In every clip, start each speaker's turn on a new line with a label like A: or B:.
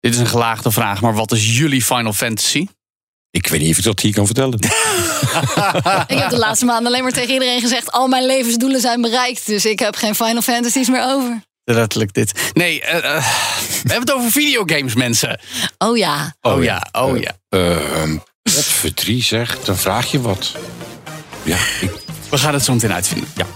A: Dit is een gelaagde vraag, maar wat is jullie Final Fantasy?
B: Ik weet niet of ik dat hier kan vertellen.
C: Ik heb de laatste maanden alleen maar tegen iedereen gezegd: al mijn levensdoelen zijn bereikt. Dus ik heb geen Final Fantasies meer over.
A: Letterlijk dit. Nee, eh, eh, we hebben het over videogames, mensen.
C: Oh ja.
A: Oh, ja, oh ja.
B: Ehm potverdrie zeg, dan vraag je wat. Ja, ik,
A: We gaan het zo meteen uitvinden. Ja.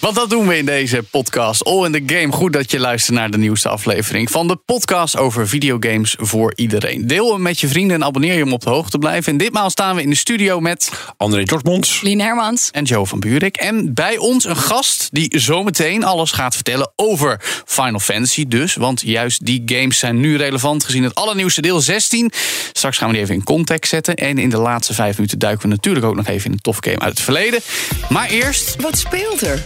A: Want dat doen we in deze podcast. All in the Game. Goed dat je luistert naar de nieuwste aflevering van de podcast over videogames voor iedereen. Deel hem met je vrienden en abonneer je om op de hoogte te blijven. En ditmaal staan we in de studio met
B: André Dortmonds.
C: Lien Hermans.
A: en Joe van Buurik. En bij ons een gast die zometeen alles gaat vertellen over Final Fantasy dus. Want juist die games zijn nu relevant gezien het allernieuwste deel 16. Straks gaan we die even in context zetten. En in de laatste vijf minuten duiken we natuurlijk ook nog even in een tof game uit het verleden. Maar eerst
D: Wat speelt er?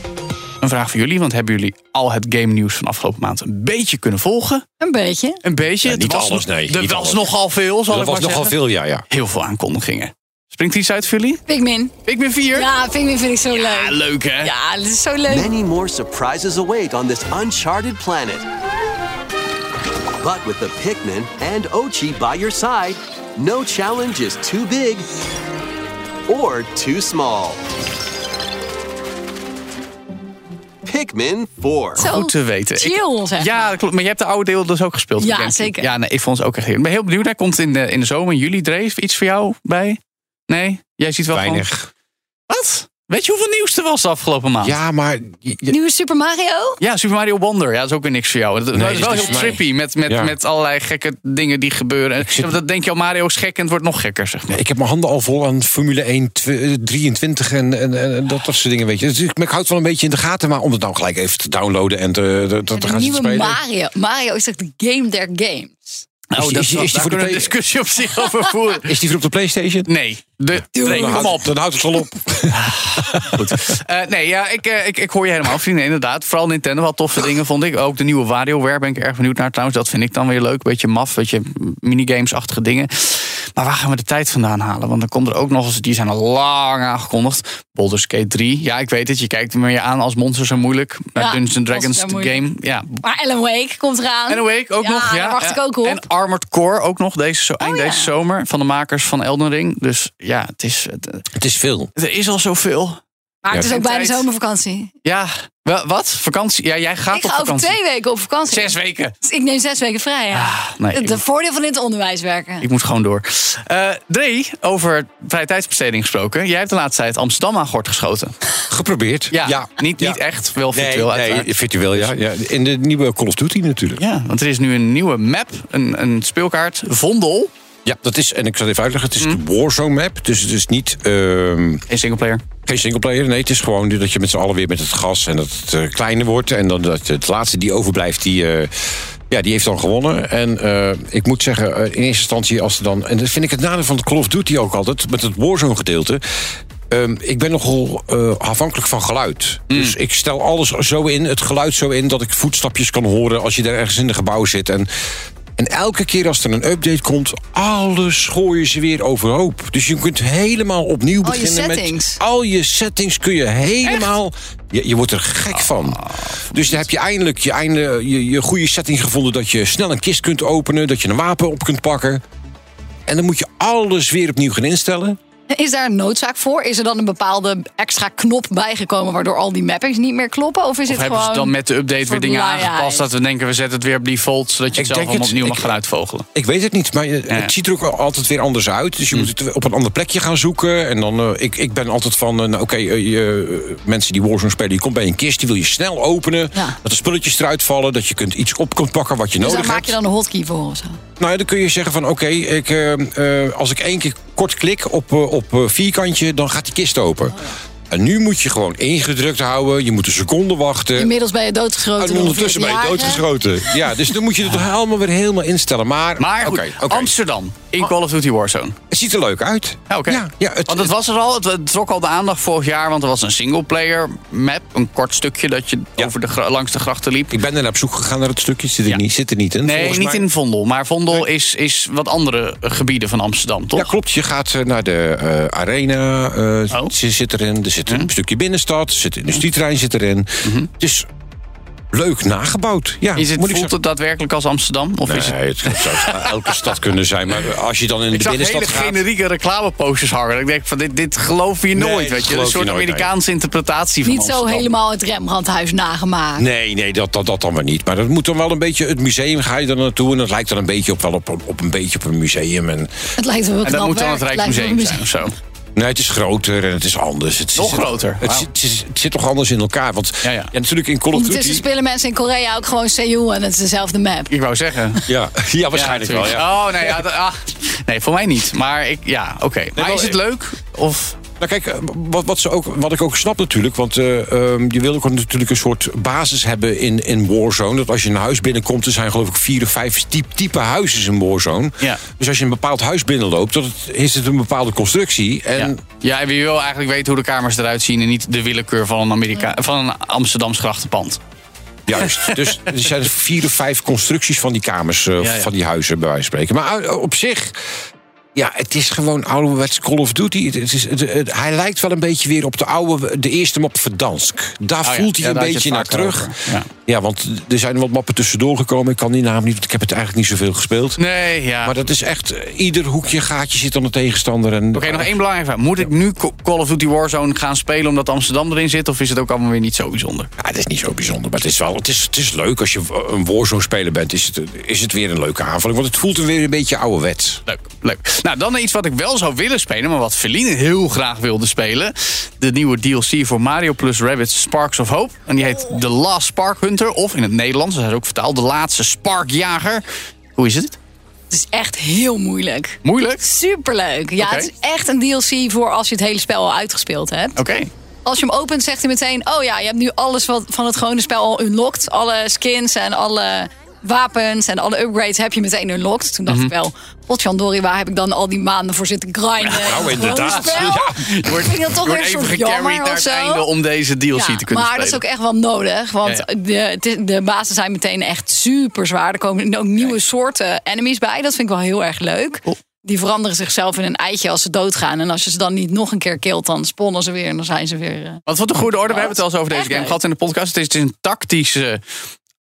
A: een vraag voor jullie. Want hebben jullie al het game nieuws van afgelopen maand een beetje kunnen volgen?
C: Een beetje.
A: Een beetje?
B: Ja,
A: Het
B: niet
A: was
B: alles,
A: nog-
B: nee,
A: Er
B: niet
A: was
B: alles.
A: nogal veel, zal
B: Dat
A: ik
B: was
A: maar
B: nogal
A: zeggen.
B: veel, ja, ja.
A: Heel veel aankondigingen. Springt iets uit voor jullie?
C: Pikmin.
A: Pikmin 4?
C: Ja, Pikmin vind ik zo
A: Ah,
C: leuk.
A: leuk hè?
C: Ja, dit is zo leuk.
E: Many more surprises await on this uncharted planet. But with the Pikmin and Ochi by your side, no challenge is too big or too small. Pikmin 4.
C: Zo
A: Goed te weten. Ik-
C: Chill, zeg
A: Ja, dat klopt. Maar je hebt de oude deel dus ook gespeeld. op
C: Ja,
A: GameCube.
C: zeker.
A: Ja, nee, ik vond het ook echt heel... Ik ben heel benieuwd. Daar komt in de, in de zomer, in juli, Dreef, iets voor jou bij? Nee? Jij ziet wel gewoon-
B: Weinig.
A: Wat? Weet je hoeveel nieuws er was de afgelopen maand?
B: Ja, maar... je- je-
C: Nieuwe Super Mario?
A: Ja, Super Mario Wonder. Ja, dat is ook weer niks voor jou. Dat, dat
B: dat
A: is
B: is
A: wel
B: niks
A: heel
B: voor mij.
A: trippy met, met,
B: Ja.
A: met allerlei gekke dingen die gebeuren. Dat denk je al, Mario is gek en het wordt nog gekker, zeg maar.
B: Ik heb mijn handen al vol aan Formule 1 tw- eh, 23 en, en, en en dat, dat soort dingen, weet je. Dus ik, ik houd het wel een beetje in de gaten, maar om het nou gelijk even te downloaden en te, te, te
C: De
B: gaan zitten
C: nieuwe
B: spelen.
C: Mario. Mario is echt de game der games.
A: Nou,
B: is-
A: dat
B: is- is
A: daar
B: die voor de
A: kunnen we een
B: play-
A: discussie op zich over voeren.
B: Is die voor op de Playstation?
A: Nee. De, nee, kom
B: dan, houdt-
A: op.
B: dan houdt het wel op.
A: Goed. Eh, nee, ja, ik, eh, ik, ik hoor je helemaal, vrienden. Inderdaad. Vooral Nintendo had toffe dingen, vond ik. Ook de nieuwe WarioWare ben ik erg benieuwd naar trouwens. Dat vind ik dan weer leuk. Beetje maf, weet je, minigames-achtige dingen. Maar waar gaan we de tijd vandaan halen? Want dan komt er ook nog eens, die zijn al lang aangekondigd. Baldur's Gate 3. Ja, ik weet het. Je kijkt me je aan als monsters zo moeilijk. Naar
C: Ja,
A: Dungeons and Dragons,
C: monsters
A: de
C: zijn
A: game. Ja.
C: Maar Alan Wake komt eraan.
A: En Awake ook
C: Ja,
A: nog. Ja,
C: daar wacht
A: ja.
C: ik ook op. Oh,
A: En Armored Core ook nog deze, zo, eind
C: ja.
A: deze zomer. Van de makers van Elden Ring. Dus ja, het is, het,
B: Het is veel.
A: er is al zoveel.
C: Maar het
B: Ja.
C: is ook
A: Geen
C: bij de
A: tijd.
C: zomervakantie.
A: Ja, wa- wat? Vakantie? Ja, jij gaat
C: Ik
A: op
C: ga over
A: vakantie.
C: twee weken op vakantie.
A: Zes weken. Ah,
C: Dus ik neem zes weken vrij. Ja.
A: nee,
C: Het
A: ik-
C: de voordeel van dit onderwijs werken.
A: Ik moet gewoon door. Eh Dre, over vrije tijdsbesteding gesproken. Jij hebt de laatste tijd Amsterdam aan gort geschoten.
B: Geprobeerd.
A: Ja, niet, niet echt, wel
B: Nee,
A: virtueel uiteraard.
B: nee, virtueel, ja. ja. In de nieuwe Call of Duty natuurlijk.
A: Ja, want er is nu een nieuwe map, een, een speelkaart, Vondel,
B: Ja, dat is, en ik zal het even uitleggen, het is de Warzone map. Dus het is niet, ehm
A: in singleplayer.
B: geen singleplayer. Nee, het is gewoon dat je met z'n allen weer met het gas en dat het eh, kleiner wordt. En dan dat het laatste die overblijft, die, eh, ja, die heeft dan gewonnen. En eh, ik moet zeggen, eh, in eerste instantie als er dan... En dat vind ik het nadeel van de Call of Duty ook altijd, met het Warzone gedeelte... Ehm, ik ben nogal eh, afhankelijk van geluid. Dus ik stel alles zo in, het geluid zo in... dat ik voetstapjes kan horen als je daar ergens in een gebouw zit. En en elke keer als er een update komt, alles gooien ze weer overhoop. Dus je kunt helemaal opnieuw
C: Al je
B: beginnen
C: settings.
B: met al je settings kun je helemaal. Je, je wordt er
C: Ah,
B: gek van. Dus dan heb je eindelijk je, einde, je, je goede settings gevonden dat je snel een kist kunt openen, dat je een wapen op kunt pakken. En dan moet je alles weer opnieuw gaan instellen.
C: Is daar een noodzaak voor? Is er dan een bepaalde extra knop bijgekomen waardoor al die mappings niet meer kloppen? Of is
A: Of
C: het
A: hebben
C: gewoon.
A: ze dan met de update weer
C: voor
A: dingen
C: laaiheid?
A: aangepast... dat we denken, we zetten het weer op default... zodat je het
B: Ik
A: zelf
B: denk
A: allemaal
B: het.
A: opnieuw mag
B: Ik-
A: gaan uitvogelen.
B: Ik weet het niet, maar je- het ziet er ook altijd weer anders uit. Dus je
C: Hm.
B: moet het op een ander plekje gaan zoeken. En dan, eh, ik, ik ben altijd van, eh, nou, oké, eh, je, eh, mensen die Warzone spelen, die komt bij een kist, die wil je snel openen.
C: Ja.
B: Dat de spulletjes eruit vallen, dat je kunt iets op kunt pakken wat je
C: Dus daar
B: nodig
C: maak
B: hebt.
C: je dan een hotkey voor of zo.
B: Nou, ja, dan kun je zeggen van, oké, ik, eh, eh, als ik één keer kort klik op, eh, op eh, vierkantje, dan gaat die kist open. En nu moet je gewoon ingedrukt houden. Je moet een seconde wachten.
C: Inmiddels ben je doodgeschoten.
B: en Ah, ondertussen ben
C: ongeveer
B: je
C: de jaren.
B: doodgeschoten. Ja, dus dan moet je het toch allemaal weer helemaal instellen. Maar,
A: Maar goed,
B: oké, oké.
A: Amsterdam in Call of Duty Warzone.
B: het ziet er leuk uit.
A: Ja, oké.
B: Ja, ja, het,
A: want het was er al, het, het trok al de aandacht vorig jaar, want er was een singleplayer map, een kort stukje dat je
B: Ja.
A: over de, gra- langs de grachten liep.
B: ik ben er naar op zoek gegaan naar het stukje. Zit er,
A: Ja.
B: niet, zit er niet in.
A: Nee,
B: volgens
A: niet
B: mij.
A: in Vondel, maar Vondel is, is wat andere eh, gebieden van Amsterdam, toch?
B: Ja, klopt. Je gaat eh, naar de eh, arena. eh
A: Oh. Mhm.
B: ze zit erin. Er zit een stukje binnenstad. Er zit een industrietrein zit erin. Het is leuk nagebouwd. Ja,
A: Is het,
B: moet ik
A: voelt het daadwerkelijk als Amsterdam? Of is het...
B: Nee, het zou elke stad kunnen zijn. Maar als je dan in
A: Ik
B: de
A: zag
B: binnenstad
A: hele
B: gaat...
A: generieke reclameposters hangen. Ik denk van, dit, dit geloof je
B: Nee,
A: nooit,
B: dit
A: weet je. Een
B: geloof je
A: soort
B: nooit, nee.
A: Amerikaanse interpretatie van
C: Niet zo
A: Amsterdam.
C: helemaal het Rembrandthuis nagemaakt.
B: Nee, nee, dat, dat, dat dan maar niet. Maar dat moet dan wel een beetje... Het museum ga je dan naartoe en dat lijkt dan een beetje op, wel op, op, op een beetje op een museum. En,
C: Het lijkt wel
A: En dat
C: knap
A: moet dan
C: werk.
A: het
C: lijkt wel
A: Rijksmuseum
C: een
A: zijn of zo.
B: nee, het is groter en het is anders. Het
A: Nog
B: zit-
A: groter,
B: Het,
A: wauw.
B: zit- het zit- het zit toch anders in elkaar. Want
A: Ja,
B: ja,
A: ja.
B: natuurlijk in Call of
C: Ondertussen
B: Duty...
C: spelen mensen in Korea ook gewoon Seoul en het is dezelfde map.
A: Ik wou zeggen.
B: Ja, ja, waarschijnlijk
A: Ja,
B: wel,
A: natuurlijk.
B: ja.
A: Oh, nee, ja, dat- ah, nee, voor mij niet. Maar ik, ja, oké. Maar
B: wel-
A: is het leuk? Of...
B: Nou kijk, eh, wat, wat, ze ook, wat ik ook snap natuurlijk, want eh, ehm, je wil ook natuurlijk een soort basis hebben in, in Warzone. Dat als je een huis binnenkomt, er zijn geloof ik vier of vijf type, type huizen in Warzone.
A: Ja.
B: Dus als je een bepaald huis binnenloopt, dat het, is het een bepaalde constructie. En
A: Ja. ja, en wie wil eigenlijk weten hoe de kamers eruit zien... en niet de willekeur van een, Amerika van een Amsterdams grachtenpand.
B: Juist. Dus er zijn vier of vijf constructies van die kamers, eh,
A: Ja, ja.
B: van die huizen, bij wijze van spreken. Maar eh, op zich, ja, het is gewoon ouderwets Call of Duty. Het, het is, het- het- hij lijkt wel een beetje weer op de oude, de eerste map Verdansk. Daar
A: Oh ja,
B: voelt hij
A: ja, daar
B: een
A: had je
B: beetje
A: het
B: naar
A: vaker
B: terug.
A: over, ja.
B: Ja. want er zijn wat mappen tussendoor gekomen. Ik kan die naam niet, want ik heb het eigenlijk niet zoveel gespeeld.
A: Nee, ja.
B: Maar dat is echt, eh, ieder hoekje, gaatje zit aan de tegenstander. En,
A: Oké, nog één belangrijke vraag. Moet ik nu Co- Call of Duty Warzone gaan spelen omdat Amsterdam erin zit? Of is het ook allemaal weer niet zo bijzonder?
B: Ja, het is niet zo bijzonder, maar het is wel het is, het is leuk. Als je een Warzone-speler bent, is het, is het weer een leuke aanvulling. Want het voelt weer een beetje ouderwets.
A: Leuk, leuk. Nou, dan iets wat ik wel zou willen spelen, maar wat Feline heel graag wilde spelen. De nieuwe DLC voor Mario plus Rabbids Sparks of Hope. En die heet The Last Spark Hunter, of in het Nederlands, dat is ook vertaald, De Laatste Sparkjager. Hoe is het?
C: Het is echt heel moeilijk.
A: Moeilijk?
C: Superleuk. Ja,
A: Oké.
C: het is echt een DLC voor als je het hele spel al uitgespeeld hebt.
A: Oké.
C: Als je hem opent, zegt hij meteen... oh ja, je hebt nu alles wat van het gewone spel al unlocked. Alle skins en alle wapens en alle upgrades heb je meteen unlocked. Toen dacht
A: Mhm.
C: ik wel, potjandori, waar heb ik dan al die maanden voor zitten grinden? in het gewone
B: inderdaad.
C: spel?
A: nou, Je wordt,
C: Vind ik dat toch
A: je wordt
C: weer een
A: even
C: soort jammer
A: gecarried naar
C: of
A: het
C: zo?
A: einde om deze DLC te kunnen
C: maar
A: spelen.
C: dat is ook echt wel nodig. Want
A: Ja, ja.
C: De, het is- de bazen zijn meteen echt super zwaar. Er komen ook nieuwe soorten enemies bij. Dat vind ik wel heel erg leuk.
A: Cool.
C: Die veranderen zichzelf in een eitje als ze doodgaan. En als je ze dan niet nog een keer kilt, dan spawnen ze weer. En dan zijn ze weer... eh,
A: Want wat een goede orde. We hebben het al eens over deze
C: Echt
A: game
C: leuk.
A: gehad in de podcast. Het is, het is een tactische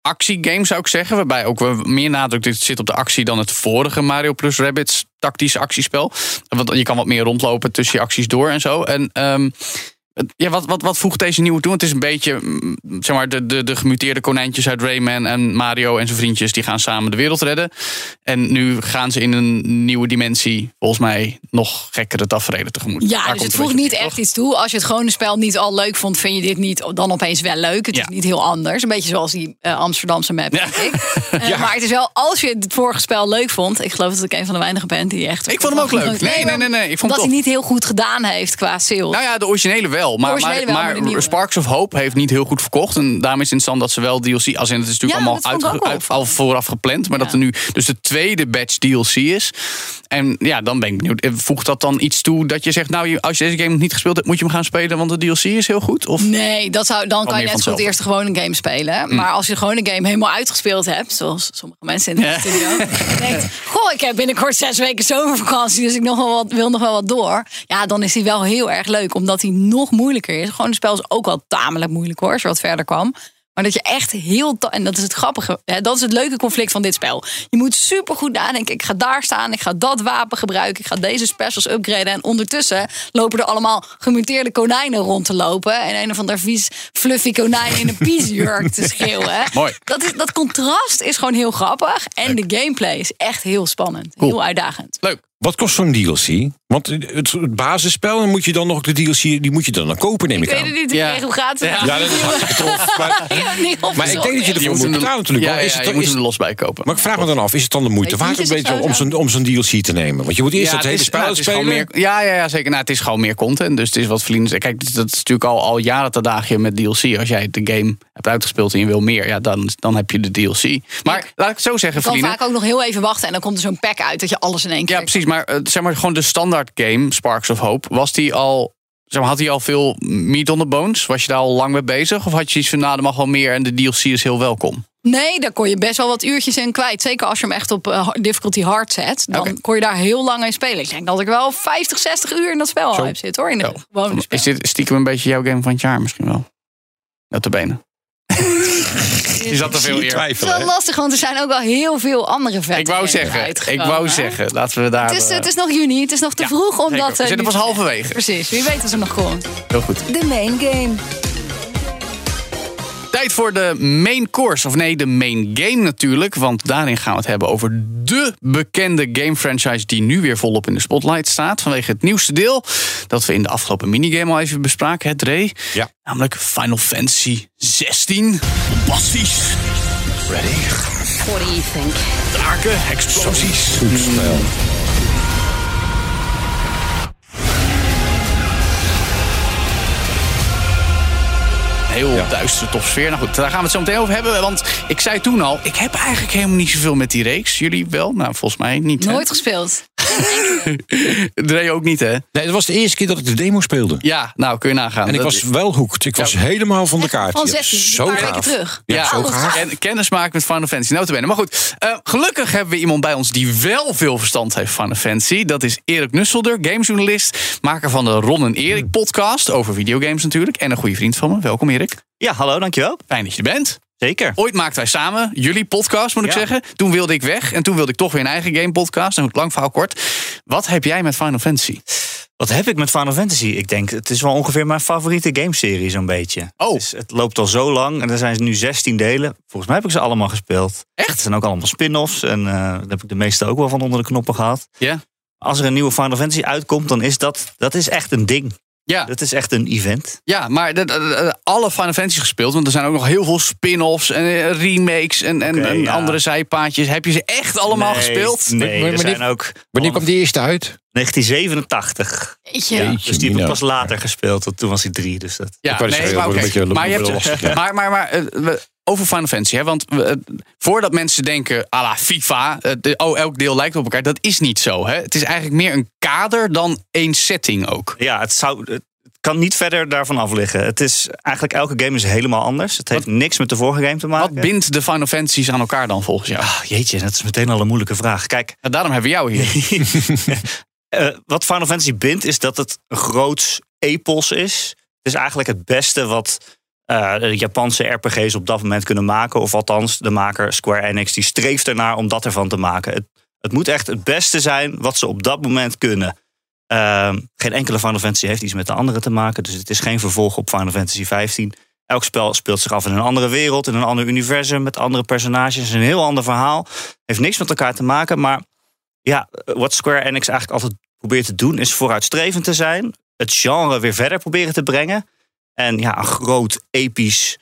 A: actiegame, zou ik zeggen. Waarbij ook wel meer nadruk zit op de actie dan het vorige Mario plus Rabbids tactische actiespel. Want je kan wat meer rondlopen tussen je acties door en zo. En ehm, het- ja, wat, wat, wat voegt deze nieuwe toe? Want het is een beetje, mm, zeg maar, de, de, de gemuteerde konijntjes uit Rayman en Mario en zijn vriendjes, die gaan samen de wereld redden. En nu gaan ze in een nieuwe dimensie, volgens mij, nog gekkere tafereelen tegemoet. Daar
C: Ja,
A: komt
C: dus het
A: een
C: voegt
A: beetje
C: niet
A: op,
C: echt iets toe. Als je het gewone spel niet al leuk vond, vind je dit niet dan opeens wel leuk. Het
A: Ja.
C: is niet heel anders. Een beetje zoals die eh, Amsterdamse map,
A: Ja.
C: denk ik. Eh, Maar het is wel, als je het vorige spel leuk vond... Ik geloof dat ik een van de weinigen ben die echt...
A: Ik vond hem ook leuk. Nee, nee, nee, nee. Ik vond
C: dat
A: het
C: hij
A: top.
C: niet heel goed gedaan heeft qua sales.
A: Nou ja, de originele wel. Maar,
C: originele wel,
A: maar,
C: maar de
A: maar
C: nieuwe.
A: Sparks of Hope heeft niet heel goed verkocht. En daarom is het interessant dat ze wel DLC... Als in het is natuurlijk
C: Ja,
A: allemaal
C: dat vond ik
A: uitge-
C: ook wel
A: uit- al vooraf gepland. Maar
C: Ja.
A: dat er nu dus de tweede batch DLC is. En ja, dan ben ik benieuwd. Eh, Voegt dat dan iets toe dat je zegt... Nou, je- als je deze game nog niet gespeeld hebt... moet je hem gaan spelen, want de DLC is heel goed? Of...
C: Nee, dat zou, dan kan je
A: Oh, meer
C: net zo
A: van Mm.
C: goed eerst de gewone game spelen. Maar als je de gewone game helemaal uitgespeeld hebt, zoals sommige mensen in de studio, en denkt, goh, ik heb binnenkort zes weken zomervakantie, dus ik nog wel wat, wil nog wel wat door. Ja, dan is die wel heel erg leuk, omdat die nog moeilijker is. Gewoon het spel is ook wel tamelijk moeilijk hoor, als je wat verder kwam. Maar dat je echt heel. ta- En dat is het grappige. Hè, dat is het leuke conflict van dit spel. Je moet supergoed nadenken. Ik ga daar staan. Ik ga dat wapen gebruiken. Ik ga deze specials upgraden. En ondertussen lopen er allemaal gemuteerde konijnen rond te lopen. En een of ander vies fluffy konijn in een piesjurk te schreeuwen.
A: Mooi.
C: Dat, is, dat contrast is gewoon heel grappig. En de gameplay is echt heel spannend. Heel uitdagend.
A: Leuk.
B: Wat kost zo'n DLC? Want het, het basisspel, dan moet je dan nog de DLC, die moet je dan, dan kopen, neem ik,
C: Ik weet
B: aan.
C: het niet, ik
A: Ja.
C: kreeg hem gratis.
A: Ja.
B: Ja, dat is hartstikke tof. Maar,
C: Ik heb hem niet
B: maar ik denk dat je
C: opgezocht.
B: ervoor moet
A: hem er-
B: betalen natuurlijk.
A: Ja,
B: maar,
A: ja,
B: is het,
A: ja,
B: dan-
A: je moet
B: is-
A: hem er los bij kopen.
B: maar ik vraag me dan af, is het dan de moeite
C: Nee,
B: waard
C: niet
B: om,
C: is
B: weet
C: het
B: je wel, om
C: zo, ja.
B: zo'n om zo'n DLC te nemen? Want je moet eerst dat
A: het
B: hele
A: is-
B: spel
A: nou, het is gewoon
B: spelen.
A: meer- ja, ja, ja, zeker. Nou, het is gewoon meer content. Dus het is wat verdienen. Kijk, dat is natuurlijk al, al jaren te dagen met DLC. Als jij de game hebt uitgespeeld en je wil meer, ja, dan, dan heb je de DLC. Maar laat ik het zo zeggen,
C: Je kan
A: verdienen.
C: vaak ook nog heel even wachten en dan komt er zo'n pack uit dat je alles in één keer...
A: Ja, precies. Maar eh, zeg maar gewoon de standaard game, Sparks of Hope, was die al. Zeg maar, had hij al veel meat on the bones? Was je daar al lang mee bezig? Of had je iets van, nou, er mag wel meer en de DLC is heel welkom?
C: Nee, daar kon je best wel wat uurtjes in kwijt. Zeker als je hem echt op eh, difficulty hard zet. Dan
A: Oké.
C: kon je daar heel lang in spelen. Ik denk dat ik wel 50, 60 uur in dat spel al heb zit hoor. In het gewone spel.
A: Is dit stiekem een beetje jouw game van het jaar misschien wel? Dat de benen. Je zat er
B: Ik
A: veel eer.
C: Het is wel lastig, want er zijn ook wel heel veel andere vette
A: Ik wou
C: games
A: zeggen, ik
C: uitgekomen,
A: wou
C: hè?
A: zeggen, laten we daar...
C: Het is,
A: eh,
C: het is nog juni, het is nog te
A: Ja,
C: vroeg om
A: zeker.
C: dat...
A: We
C: eh,
A: zitten
C: nu
A: pas
C: te zeggen.
A: halverwege.
C: Precies, wie weet als er nog komt.
A: heel goed.
D: De main game.
A: Tijd voor de main course, of nee, de main game natuurlijk. Want daarin gaan we het hebben over de bekende game franchise... die nu weer volop in de spotlight staat. Vanwege het nieuwste deel dat we in de afgelopen minigame al even bespraken, hè Dre?
B: Ja.
A: Namelijk Final Fantasy 16. Bombastisch.
D: What do you think?
A: Draken, explosies.
B: Goed spel.
A: Heel
B: Ja.
A: duistere topsfeer. Nou goed, daar gaan we het zo meteen over hebben. Want ik zei toen al, ik heb eigenlijk helemaal niet zoveel met die reeks. Jullie wel? Nou, volgens mij niet. hè?
C: Nooit gespeeld.
A: Dre ook niet, hè?
B: Nee, dat was de eerste keer dat ik de demo speelde.
A: Ja, nou, kun je nagaan.
B: En ik
A: Dat-
B: was wel hoekt. Ik was
A: Ja.
B: helemaal van de kaart.
C: Van
B: Ja,
C: 16, een
B: Zo
C: paar
B: gaaf.
C: weken terug.
B: Ja,
A: Ja,
B: zo gaaf.
A: en kennis maken met Final Fantasy. Nou te benen. Maar goed, eh, gelukkig hebben we iemand bij ons die wel veel verstand heeft van Final Fantasy. Dat is Erik Nusselder, gamejournalist, maker van de Ron en
F: Hmm.
A: Erik podcast over videogames natuurlijk. En een goede vriend van me. Welkom Erik.
F: Ja, hallo, dankjewel.
A: Fijn dat je er bent.
F: Zeker.
A: Ooit maakten wij samen jullie podcast, moet ik
F: Ja.
A: zeggen. Toen wilde ik weg en toen wilde ik toch weer een eigen game podcast. Nou, goed, lang verhaal kort. Wat heb jij met Final Fantasy?
F: Wat heb ik met Final Fantasy? Ik denk, het is wel ongeveer mijn favoriete gameserie zo'n beetje.
A: Oh.
F: Dus het loopt al zo lang en er zijn nu 16 delen. Volgens mij heb ik ze allemaal gespeeld. Echt? Het zijn ook allemaal spin-offs en eh, daar heb ik de meeste ook wel van onder de knoppen gehad.
A: Ja.
F: Als er een nieuwe Final Fantasy uitkomt, dan is dat, dat is echt een ding.
A: Ja,
F: Dat is echt een event.
A: ja maar dat- dat- dat- alle Final Fantasy gespeeld. Want er zijn ook nog heel veel spin-offs en eh, remakes en, en,
F: Oké,
A: en
F: ja.
A: andere zijpaadjes. Heb je ze echt allemaal
F: Nee,
A: gespeeld?
F: Nee,
B: Maar- maar
F: er
B: die-
F: zijn ook...
B: Wanneer kwam die eerste uit?
F: 1987.
C: Jeetje.
F: Dus die heb ik pas later gespeeld, want toen was hij drie. Dus dat...
A: Ja,
B: Ik wou net
A: nee,
B: zeggen,
A: maar,
B: dat wordt een
A: oké.
B: beetje
A: maar je hebt
B: lastig, ja.
A: maar, maar, maar eh, we- over Final Fantasy, hè, want we, eh, voordat mensen denken, à la FIFA, eh, de- oh, elk deel lijkt op elkaar, dat is niet zo. Hè? Het is eigenlijk meer een kader dan één setting ook.
F: Ja, het, zou, het kan niet verder daarvan af liggen. Het is eigenlijk elke game is helemaal anders. Het heeft niks met de vorige game te
A: Wat
F: maken.
A: bindt de Final Fantasy's aan elkaar dan volgens jou?
F: Ah, jeetje, dat is meteen al een moeilijke vraag. Kijk,
A: Nou, daarom hebben we jou hier.
F: eh, wat Final Fantasy bindt is dat het een groots epos is. Het is eigenlijk het beste wat eh, de Japanse RPG's op dat moment kunnen maken. Of althans, de maker Square Enix die streeft ernaar om dat ervan te maken. Het, het moet echt het beste zijn wat ze op dat moment kunnen. Ehm, geen enkele Final Fantasy heeft iets met de andere te maken. Dus het is geen vervolg op Final Fantasy 15. Elk spel speelt zich af in een andere wereld, in een ander universum, met andere personages. Een heel ander verhaal. Heeft niks met elkaar te maken. Maar ja, wat Square Enix eigenlijk altijd probeert te doen, is vooruitstrevend te zijn. Het genre weer verder proberen te brengen. En ja, een groot, episch,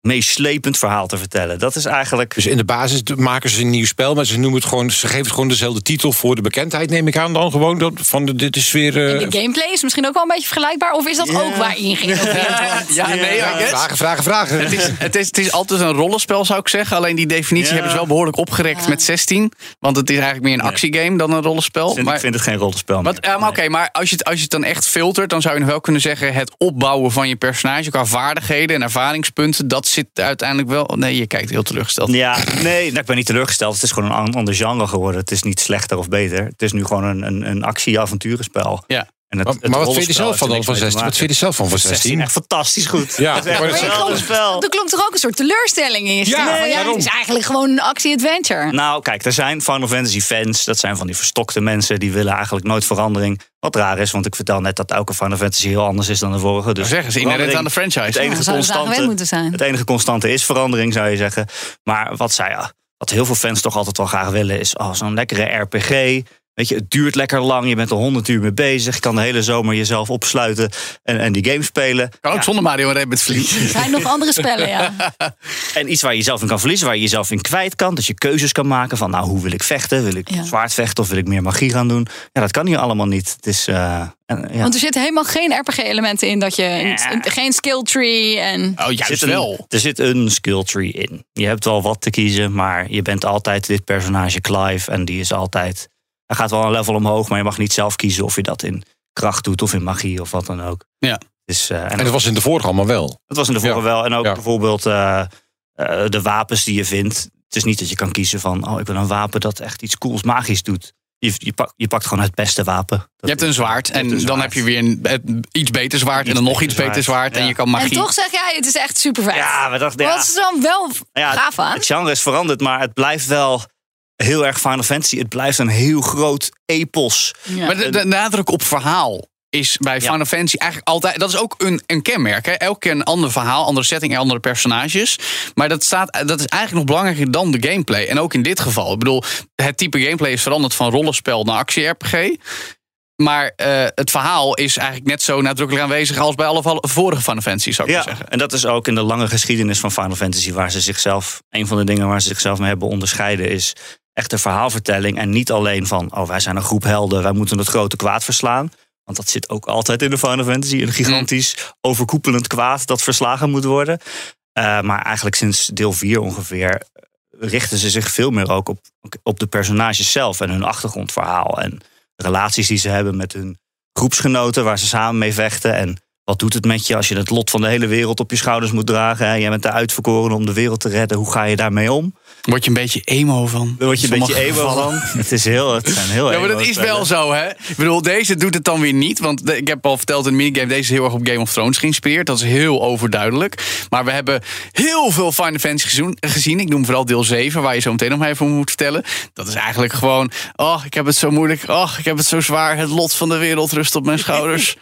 F: meeslepend verhaal te vertellen. Dat is eigenlijk.
B: Dus in de basis maken ze een nieuw spel, maar ze noemen het gewoon, ze geven het gewoon dezelfde titel voor de bekendheid, neem ik aan dan gewoon. Dat, van de, dit is weer. eh,
C: En de gameplay is misschien ook wel een beetje vergelijkbaar. Of is dat ook waarin geïnnoveerd wordt?
A: ja, nee, I guess.
B: vragen, vragen, vragen.
A: Het is, het, is, het is altijd een rollenspel, zou ik zeggen. Alleen die definitie
F: Ja.
A: hebben ze wel behoorlijk opgerekt met 16. Want het is eigenlijk meer een actiegame dan een rollenspel.
F: Ik vind het geen rollenspel. Meer.
A: Wat, ja, maar oké, maar als je, het, als je het dan echt filtert, dan zou je nog wel kunnen zeggen: het opbouwen van je personage qua vaardigheden en ervaringspunten, dat zit uiteindelijk wel. Nee, je kijkt heel teleurgesteld.
F: Ja, nee, nou, ik ben niet teleurgesteld. Het is gewoon een an- ander genre geworden. Het is niet slechter of beter. Het is nu gewoon een, een, een actie-avonturenspel.
A: Ja.
F: En het,
B: Maar,
F: het
B: maar wat vind je er
F: rollenspel
B: zelf van
F: heeft
B: dan
F: er
B: van
F: niks
B: 16? Wat
F: mee te maken.
B: vind je er zelf van van
F: 16
B: 16?
F: echt fantastisch goed.
B: Ja,
F: het is echt
B: maar
F: een
B: dat is-
F: geweldig spel.
C: Er klonk toch ook een soort teleurstelling in je stem?
B: Ja,
C: Van, ja,
B: daarom.
C: het is eigenlijk gewoon een actie-adventure.
F: Nou, kijk, er zijn Final Fantasy fans. Dat zijn van die verstokte mensen. Die willen eigenlijk nooit verandering. Wat raar is, want ik vertel net dat elke Final Fantasy heel anders is dan de vorige. Dus
A: Nou, zeggen ze inherent
F: verandering-
A: aan de franchise.
F: Het
A: Ja,
F: enige,
C: dan zouden ze aan
F: constante,
C: gewend moeten zijn.
F: het enige constante is verandering, zou je zeggen. Maar wat zij... ja, Wat heel veel fans toch altijd wel graag willen is oh, zo'n lekkere RPG. Weet je, het duurt lekker lang, je bent er 100 uur mee bezig, je kan de hele zomer jezelf opsluiten en, en die game spelen.
A: Kan ook zonder Mario en Rabbit verliezen.
C: Er zijn nog andere spellen, ja.
F: En iets waar je jezelf in kan verliezen, waar je jezelf in kwijt kan. Dat je keuzes kan maken van, nou, hoe wil ik vechten? Wil ik
C: Ja.
F: zwaard vechten of wil ik meer magie gaan doen? Ja, dat kan hier allemaal niet. Het is, eh, en, ja.
C: Want er zitten helemaal geen RPG-elementen in dat je... in- Geen skill tree en...
A: Oh,
F: Er
A: juist
F: zit, een,
A: wel.
F: er zit een skill tree in. Je hebt wel wat te kiezen, maar je bent altijd dit personage Clive. En die is altijd. Hij gaat wel een level omhoog, maar je mag niet zelf kiezen of je dat in kracht doet of in magie of wat dan ook.
A: Ja.
F: Dus, eh, en
B: En dat was in de vorige allemaal wel.
F: dat was in de vorige
B: Ja.
F: wel. En ook
B: Ja.
F: bijvoorbeeld eh, eh, de wapens die je vindt. Het is niet dat je kan kiezen van, oh, ik wil een wapen dat echt iets cools, magisch doet. Je, je, pak- je pakt gewoon het beste wapen. Dat
A: Je hebt
F: is-
A: een zwaard
F: Je hebt
A: en
F: een
A: dan
F: zwaard.
A: heb je weer een, het- iets beter zwaard en
F: Iets
A: dan nog
F: beter
A: iets beter
F: zwaard.
A: zwaard en
F: Ja.
A: je kan magie.
C: En toch zeg jij, het is echt super vet.
F: Ja, we dachten, ja.
C: Wat is er dan wel
F: Nou ja,
C: gaaf aan?
F: Het genre is veranderd, maar het blijft wel heel erg Final Fantasy. Het blijft een heel groot epos.
C: Ja.
A: Maar de, de nadruk op verhaal is bij Final Fantasy eigenlijk altijd... Dat is ook een, een kenmerk. Hè? Elke keer een ander verhaal, andere setting en andere personages. Maar dat, staat, dat is eigenlijk nog belangrijker dan de gameplay. En ook in dit geval. Ik bedoel, het type gameplay is veranderd van rollenspel naar actie-RPG. Maar eh, het verhaal is eigenlijk net zo nadrukkelijk aanwezig... als bij alle val- vorige Final Fantasy, zou ik maar
F: Ja,
A: zeggen.
F: en dat is ook in de lange geschiedenis van Final Fantasy, waar ze zichzelf, een van de dingen waar ze zichzelf mee hebben onderscheiden, is echte verhaalvertelling. En niet alleen van, oh, wij zijn een groep helden, wij moeten het grote kwaad verslaan. Want dat zit ook altijd in de Final Fantasy. Een gigantisch overkoepelend kwaad dat verslagen moet worden. Eh, maar eigenlijk sinds deel 4 ongeveer richten ze zich veel meer ook op, op de personages zelf en hun achtergrondverhaal. En relaties die ze hebben met hun groepsgenoten waar ze samen mee vechten. En wat doet het met je als je het lot van de hele wereld op je schouders moet dragen? Hè? Jij bent de uitverkoren om de wereld te redden. Hoe ga je daarmee om?
A: Word je een beetje emo van.
F: Daar word je een
A: Sommige
F: beetje emo
A: gevallen.
F: van. Het is heel, het zijn heel
A: Ja, maar
F: emo
A: dat is
F: spellen.
A: wel zo, hè? Ik bedoel, deze doet het dan weer niet. Want de- ik heb al verteld in de minigame, deze is heel erg op Game of Thrones geïnspireerd. Dat is heel overduidelijk. Maar we hebben heel veel Final Fantasy gezoen- gezien. Ik noem vooral deel 7, waar je zo meteen om even moet vertellen. Dat is eigenlijk gewoon, oh, ik heb het zo moeilijk. Oh, ik heb het zo zwaar. Het lot van de wereld rust op mijn schouders.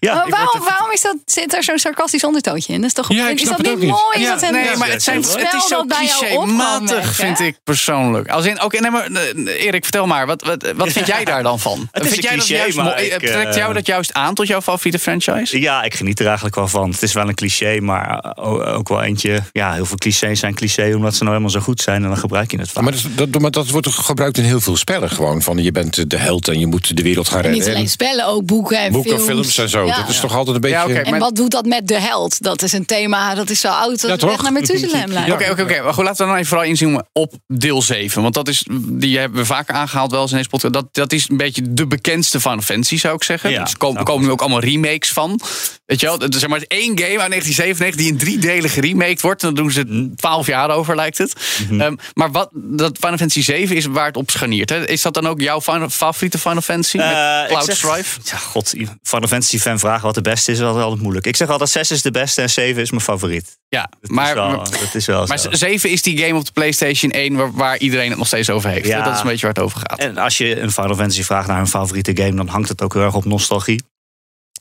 F: Ja,
C: Maar Oh, waarom, waarom is dat, zit daar zo'n sarcastisch ondertootje in? Dat is, toch,
B: Ja, ik
C: is
B: snap
C: dat
B: het
C: niet
B: ook niet.
C: mooi? Is dat een-
A: nee, maar het, zijn,
C: Spel
A: het is zo
C: dat bij jou opkwam, merk
A: clichématig,
C: je,
A: vind
C: hè?
A: ik persoonlijk. Als in, oké, nee, maar eh, Erik, vertel maar, wat, wat, wat vind jij daar dan van?
F: is
A: vind
F: een
A: jij
F: cliché,
A: dat juist
F: maar
A: mooi?
F: ik,
A: Eh, Trekt jou
F: eh,
A: dat juist aan tot jouw favoriete franchise?
F: Ja, ik geniet er eigenlijk wel van. Het is wel een cliché, maar eh, o- ook wel eentje. Ja, heel veel clichés zijn cliché omdat ze nou helemaal zo goed zijn en dan gebruik je het vaak.
B: Maar dat, dat, maar dat wordt gebruikt in heel veel spellen gewoon. Van je bent de held en je moet de wereld gaan redden.
C: Niet alleen
B: En
C: spellen, ook boeken en
B: boeken,
C: films.
B: films en zo.
C: Ja.
B: Dat is toch altijd een beetje...
A: Ja, oké.
C: En
A: Maar-
C: wat doet dat met de held? Dat is een thema, dat is zo oud dat
B: Ja,
C: het echt
B: toch?
C: naar Methuselem lijkt.
A: Oké, oké, oké. Maar goed, laten we dan even vooral inzoomen op deel 7. Want dat is, die hebben we vaker aangehaald wel eens in deze podcast. Dat, dat is een beetje de bekendste Final Fantasy, zou ik zeggen.
F: Ja,
A: dus er komen,
F: nou,
A: komen nu ook allemaal remakes van. Weet je wel, het is zeg maar één game uit 1997 die in driedelig geremaked wordt. En dan doen ze 12 jaar over, lijkt het.
F: Mhm.
A: Ehm, maar wat, dat Final Fantasy 7 is waar het op scharniert. Hè? Is dat dan ook jouw final- favoriete Final Fantasy? met
F: Eh, ik
A: Cloud
F: zeg-
A: Strife?
F: Ja, god, Final Fantasy fan vragen wat de beste is, is altijd moeilijk. Ik zeg altijd 6 is de beste en 7 is mijn favoriet.
A: Ja,
F: Dat
A: maar...
F: is wel, dat is wel
A: maar
F: zo.
A: 7 is die game op de PlayStation 1 waar, waar iedereen het nog steeds over heeft.
F: Ja.
A: Dat is een beetje waar het over gaat.
F: En als je een Final Fantasy vraagt naar hun favoriete game, dan hangt het ook heel erg op nostalgie.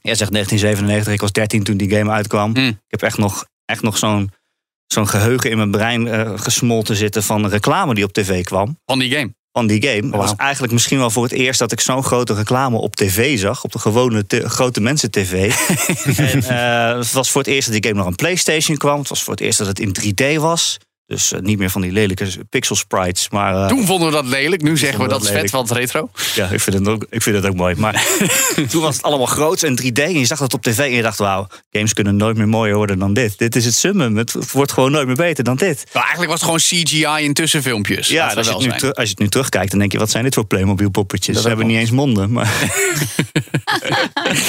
F: Jij zegt 1997, ik was 13 toen die game uitkwam.
A: Hmm.
F: Ik heb echt nog, echt nog zo'n zo'n geheugen in mijn brein eh, gesmolten zitten van een reclame die op tv kwam.
A: Van die game.
F: Van die game. Dat
A: Wauw.
F: was eigenlijk misschien wel voor het eerst dat ik zo'n grote reclame op tv zag. Op de gewone te- grote mensen tv. en, eh, het was voor het eerst dat die game nog aan PlayStation kwam. Het was voor het eerst dat het in 3D was. Dus eh, niet meer van die lelijke pixel sprites. Maar, eh,
A: Toen vonden we dat lelijk, nu zeggen we dat
F: vonden we
A: is
F: dat
A: vet, want retro.
F: Ja, ik vind het ook, ik vind het ook mooi. Maar toen was het allemaal groots en 3D. En je zag dat op tv en je dacht, wauw, games kunnen nooit meer mooier worden dan dit. Dit is het summum. Het wordt gewoon nooit meer beter dan dit.
A: Maar eigenlijk was het gewoon CGI in tussenfilmpjes.
F: Ja,
A: laten
F: en
A: we
F: als je,
A: wel
F: het
A: zijn.
F: nu teru- als je het nu terugkijkt, dan denk je, wat zijn dit voor Playmobil poppetjes? Ze hebben niet eens monden. Maar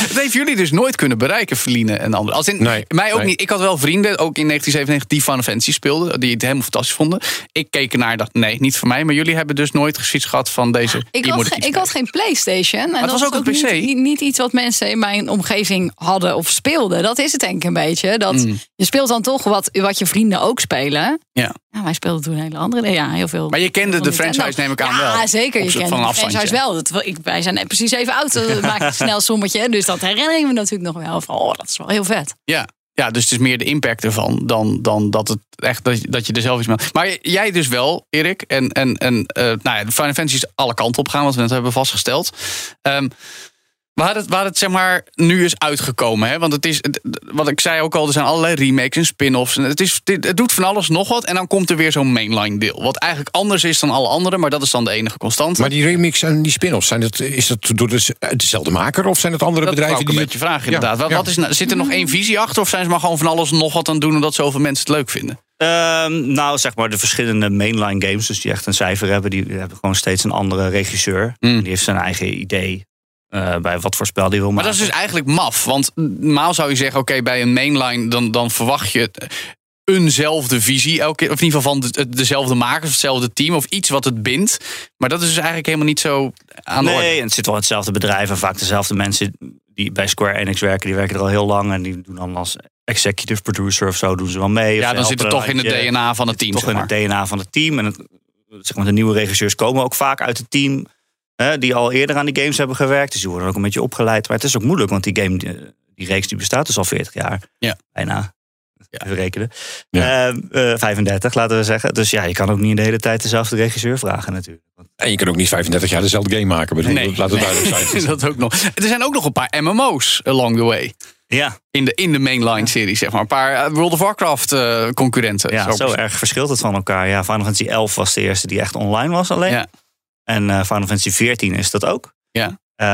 A: Dat heeft jullie dus nooit kunnen bereiken, Feline en anderen. Als in,
B: Nee,
A: mij ook
B: nee.
A: niet. Ik had wel vrienden, ook in 1997, die Final Fantasy speelden. Die het helemaal fantastisch vonden. Ik keek ernaar en dacht, nee, niet voor mij. Maar jullie hebben dus nooit zoiets gehad van deze.
C: Ik
A: hier
C: had,
A: moet
C: ge-
A: iets
C: ik
A: mee.
C: had geen PlayStation. En
A: het
C: dat
A: was ook een
C: niet-
A: PC.
C: Niet, niet iets wat mensen in mijn omgeving hadden of speelden. Dat is het denk ik een beetje. Dat Je speelt dan toch wat, wat je vrienden ook spelen.
A: Ja.
C: Ja, Nou, wij speelden toen hele andere dingen. Ja, heel veel.
A: Maar je kende
C: van
A: de
C: Nintendo.
A: franchise, neem ik aan,
C: ja,
A: wel.
C: zeker.
A: Op
C: Je
A: zo-
C: kent
A: van
C: de
A: afstandje.
C: franchise wel. Dat, ik, wij zijn net dus precies even oud. Dat maakt een snel sommetje. Dus dat herinner ik me natuurlijk nog wel. Van, oh, dat is wel heel vet.
A: Ja. Ja, dus het is meer de impact ervan dan, dan dat, het echt, dat, je- dat je er zelf iets mee... Maar jij dus wel, Erik. En, en, en eh nou ja, de Final Fantasy is alle kanten op gaan, wat we net hebben vastgesteld. Ehm, Waar het, waar het zeg maar nu is uitgekomen. Hè? Want het is, het- wat ik zei ook al, er zijn allerlei remakes en spin-offs. En het, is, dit- het doet van alles nog wat. En dan komt er weer zo'n mainline deel. Wat eigenlijk anders is dan alle anderen, maar dat is dan de enige constante.
B: Maar die remix en die spin-offs, zijn dat, is dat door de, eh, dezelfde maker of zijn het andere
A: dat wou
B: bedrijven
A: ik een
B: die.
A: beetje vragen, inderdaad. wat, wat is, nou- zit er nog één visie achter? Of zijn ze maar gewoon van alles nog wat aan het doen omdat zoveel mensen het leuk vinden?
F: Ehm, nou, zeg maar de verschillende mainline games, dus die echt een cijfer hebben, die hebben gewoon steeds een andere regisseur.
A: Hmm.
F: Die heeft zijn eigen idee eh, bij wat voor spel die wil
A: Maar
F: maken.
A: dat is dus eigenlijk maf. Want normaal zou je zeggen, oké, bij een mainline dan, dan verwacht je eenzelfde visie. Elke, keer, of in ieder geval van de- dezelfde makers, of hetzelfde team of iets wat het bindt. Maar dat is dus eigenlijk helemaal niet zo aan de
F: nee,
A: orde.
F: en het zit wel in hetzelfde bedrijf en vaak dezelfde mensen die bij Square Enix werken, die werken er al heel lang en die doen dan als executive producer of zo doen ze wel mee. Of
A: Ja,
F: ze
A: dan zit het
F: helpen een
A: toch in het
F: handje.
A: DNA van het team.
F: Toch
A: zeg
F: in
A: maar.
F: het DNA van het team en het, zeg maar, de nieuwe regisseurs komen ook vaak uit het team hè, die al eerder aan die games hebben gewerkt, dus die worden ook een beetje opgeleid. Maar het is ook moeilijk, want die game, die, die reeks die bestaat dus al 40 jaar,
A: Ja.
F: bijna.
A: Ja.
F: Even rekenen.
B: Ja.
F: Eh, eh, 35, laten we zeggen. Dus ja, je kan ook niet de hele tijd dezelfde regisseur vragen natuurlijk.
B: En je kan ook niet 35 jaar dezelfde game maken. Bedoel,
A: Nee.
B: Laat het duidelijk zijn.
A: dat ook nog. Er zijn ook nog een paar MMO's along the way.
F: Ja,
A: In de, in de mainline serie, zeg maar. Een paar eh, World of Warcraft eh, concurrenten.
F: ja zo erg verschilt het van elkaar. Ja, Final Fantasy 11 was de eerste die echt online was alleen.
A: Ja.
F: En eh, Final Fantasy 14 is dat ook.
A: Ja.
F: Eh,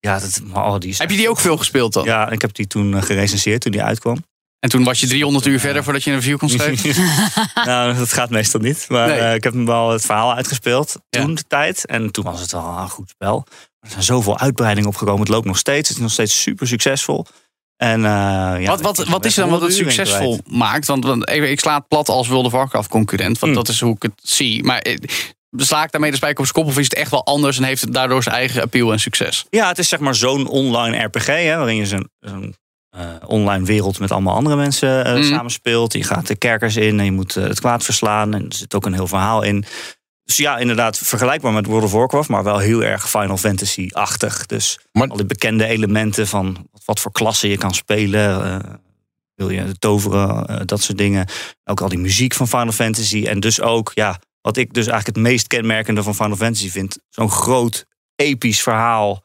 F: ja, dat, maar, oh, die is-
A: Heb je die ook veel gespeeld dan?
F: Ja, ik heb die toen eh, gerecenseerd toen die uitkwam.
A: En toen was je 300 uur verder voordat je een review kon schrijven?
F: nou, dat gaat meestal niet. Maar
A: Oh, Nee.
F: eh, ik heb hem wel het verhaal uitgespeeld
A: Ja.
F: toen de tijd. En toen was het wel een goed spel. Maar Er zijn zoveel uitbreidingen opgekomen. Het loopt nog steeds. Het is nog steeds super succesvol. En, eh, ja,
A: wat, wat,
F: ik-
A: wat is dan wat het
F: honderd uur in
A: succesvol
F: kwijt.
A: maakt? Want, want even, ik sla het plat als World of Warcraft concurrent. Want
F: Hmm.
A: dat is hoe ik het zie. Maar eh, sla ik daarmee de spijker op zijn kop? Of is het echt wel anders en heeft het daardoor zijn eigen appeal en succes?
F: Ja, het is zeg maar zo'n online RPG. Hè, waarin je zo'n zo'n, eh, online wereld met allemaal andere mensen eh
A: Mm.
F: samenspeelt. Je gaat de kerkers in en je moet eh, het kwaad verslaan. En er zit ook een heel verhaal in. Dus ja, inderdaad, vergelijkbaar met World of Warcraft, maar wel heel erg Final Fantasy-achtig. Dus
B: Maar-
F: al die bekende elementen van wat, wat voor klassen je kan spelen. eh, wil je toveren, eh, dat soort dingen. Ook al die muziek van Final Fantasy. En dus ook, ja, wat ik dus eigenlijk het meest kenmerkende van Final Fantasy vind. Zo'n groot, episch verhaal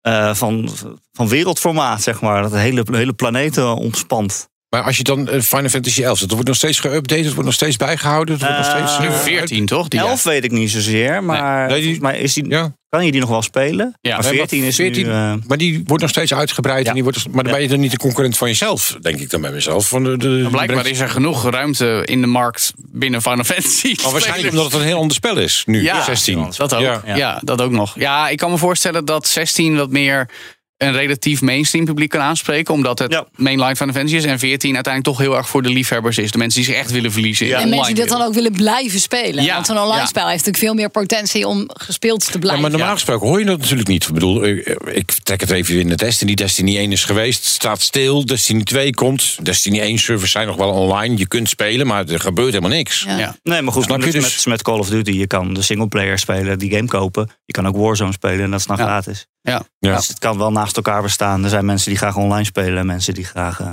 F: eh, van, van wereldformaat, zeg maar. Dat de hele, hele planeet eh, omspant.
B: Maar als je dan eh, Final Fantasy 11 zet, dat wordt nog steeds geüpdate, het wordt nog steeds bijgehouden. Het wordt nog steeds,
F: Eh,
B: eh,
A: 14 toch? Die
F: 11 weet ik niet zozeer, maar,
B: Nee, die-
F: volgens mij is die,
B: Ja.
F: kan je die nog wel spelen?
A: Ja,
F: maar
B: nee, maar
F: 14 is
B: 14
F: nu... eh,
B: Maar die wordt nog steeds uitgebreid.
F: Ja.
B: En die wordt, maar dan ben je dan niet de concurrent van jezelf, denk ik dan bij mezelf. Van de, de,
A: Ja, Blijkbaar
B: de-
A: is er genoeg ruimte in de markt binnen Final Fantasy.
B: Maar waarschijnlijk
A: spelers.
B: omdat het een heel ander spel is nu,
A: Ja,
B: 16.
A: Dat ook. Ja.
B: Ja.
A: dat ook nog. Ja, ik kan me voorstellen dat 16 wat meer een relatief mainstream publiek kan aanspreken. Omdat het
F: Ja.
A: mainline van de fantasy is. En 14 uiteindelijk toch heel erg voor de liefhebbers is. De mensen die zich echt willen verliezen. in
F: Ja.
A: de
F: En
C: En mensen die
A: online
C: dat dan ook willen blijven spelen.
A: Ja,
C: Want zo'n online
A: ja.
C: spel heeft natuurlijk veel meer potentie om gespeeld te
B: Ja,
C: blijven.
B: maar normaal gesproken hoor je dat natuurlijk niet. Ik bedoel, eh, ik trek het even in de Destiny. Destiny 1 is geweest, staat stil. Destiny 2 komt. Destiny 1 servers zijn nog wel online. Je kunt spelen, maar er gebeurt helemaal niks.
C: Ja.
A: Ja.
F: Nee, maar goed,
B: Snap je
F: net
B: dus?
F: met, met Call of Duty. Je kan de singleplayer spelen, die game kopen. Je kan ook Warzone spelen en dat is dan
A: Ja.
F: gratis.
A: Ja.
B: Ja.
F: Dus het kan wel naast elkaar bestaan. Er zijn mensen die graag online spelen en mensen die graag... eh,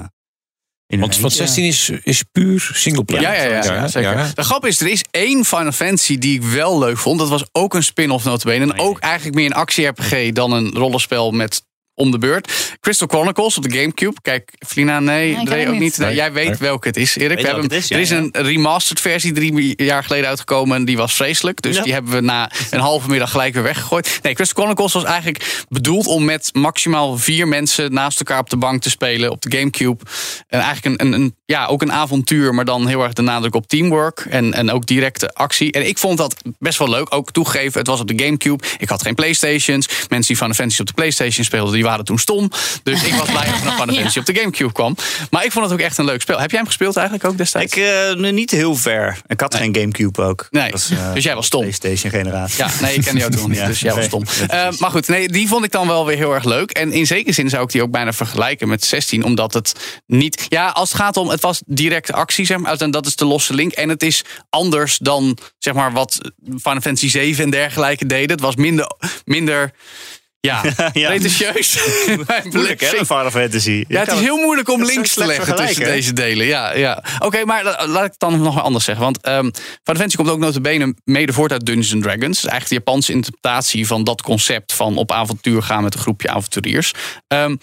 F: in
B: Want,
F: hun
B: want
F: eentje-
B: 16 is, is puur singleplayer.
A: Ja, ja, ja, ja, zeker.
B: ja.
A: De grap is, er is één Final Fantasy die ik wel leuk vond. Dat was ook een spin-off notabene. En
F: Nee.
A: ook eigenlijk meer een actie-RPG dan een rollenspel met om de beurt. Crystal Chronicles op de Gamecube. Kijk, Flina, nee,
C: ik ken
A: Dre
C: het
A: ook
C: niet.
A: niet. Nee,
B: Nee,
A: jij weet
B: nee.
A: welke het is, Erik.
F: Weet
A: We hebben,
F: welke het is, ja,
A: er is
F: ja.
A: een remastered versie drie jaar geleden uitgekomen. En die was vreselijk. Dus
F: Ja.
A: die hebben we na een halve middag gelijk weer weggegooid. Nee, Crystal Chronicles was eigenlijk bedoeld om met maximaal vier mensen naast elkaar op de bank te spelen op de Gamecube. En eigenlijk een, een, een- ja, ook een avontuur, maar dan heel erg de nadruk op teamwork en, en ook directe actie. En ik vond dat best wel leuk. Ook toegeven, het was op de Gamecube. Ik had geen Playstations. Mensen die Final Fantasy op de Playstation speelden, die waren toen stom. Dus ik was blij dat er nog Final
C: Ja.
A: Fantasy op de Gamecube kwam. Maar ik vond het ook echt een leuk spel. Heb jij hem gespeeld eigenlijk ook destijds?
F: Ik, eh, nee, niet heel ver. Ik had geen Gamecube ook.
A: Nee.
F: Dat is, eh,
A: Dus jij was stom.
F: PlayStation generatie.
A: Ja, nee, ik ken die ook nog niet,
F: Ja,
A: dus jij was
F: nee.
A: stom. Eh, maar goed, nee, die vond ik dan wel weer heel erg leuk. En in zekere zin zou ik die ook bijna vergelijken met 16, omdat het niet... Ja, als het gaat om, het was directe actie, zeg maar, en dat is de losse link. En het is anders dan, zeg maar, wat Final Fantasy 7 en dergelijke deden. Het was minder... minder Ja,
F: Ja.
A: pretentieus. Mijn
F: Moeilijk, hè,
A: blik-
F: een Final Fantasy. Je
A: Ja, het
F: kan
A: is heel moeilijk om
F: het is zo
A: links te
F: slecht
A: leggen tussen deze
F: vergelijken,
A: delen. Ja, ja. Oké, maar la- laat ik het dan nog maar anders zeggen. Want ehm Final Fantasy komt ook notabene mede voort uit Dungeons Dragons. Dat is eigenlijk de Japanse interpretatie van dat concept... van op avontuur gaan met een groepje avonturiers. Ehm,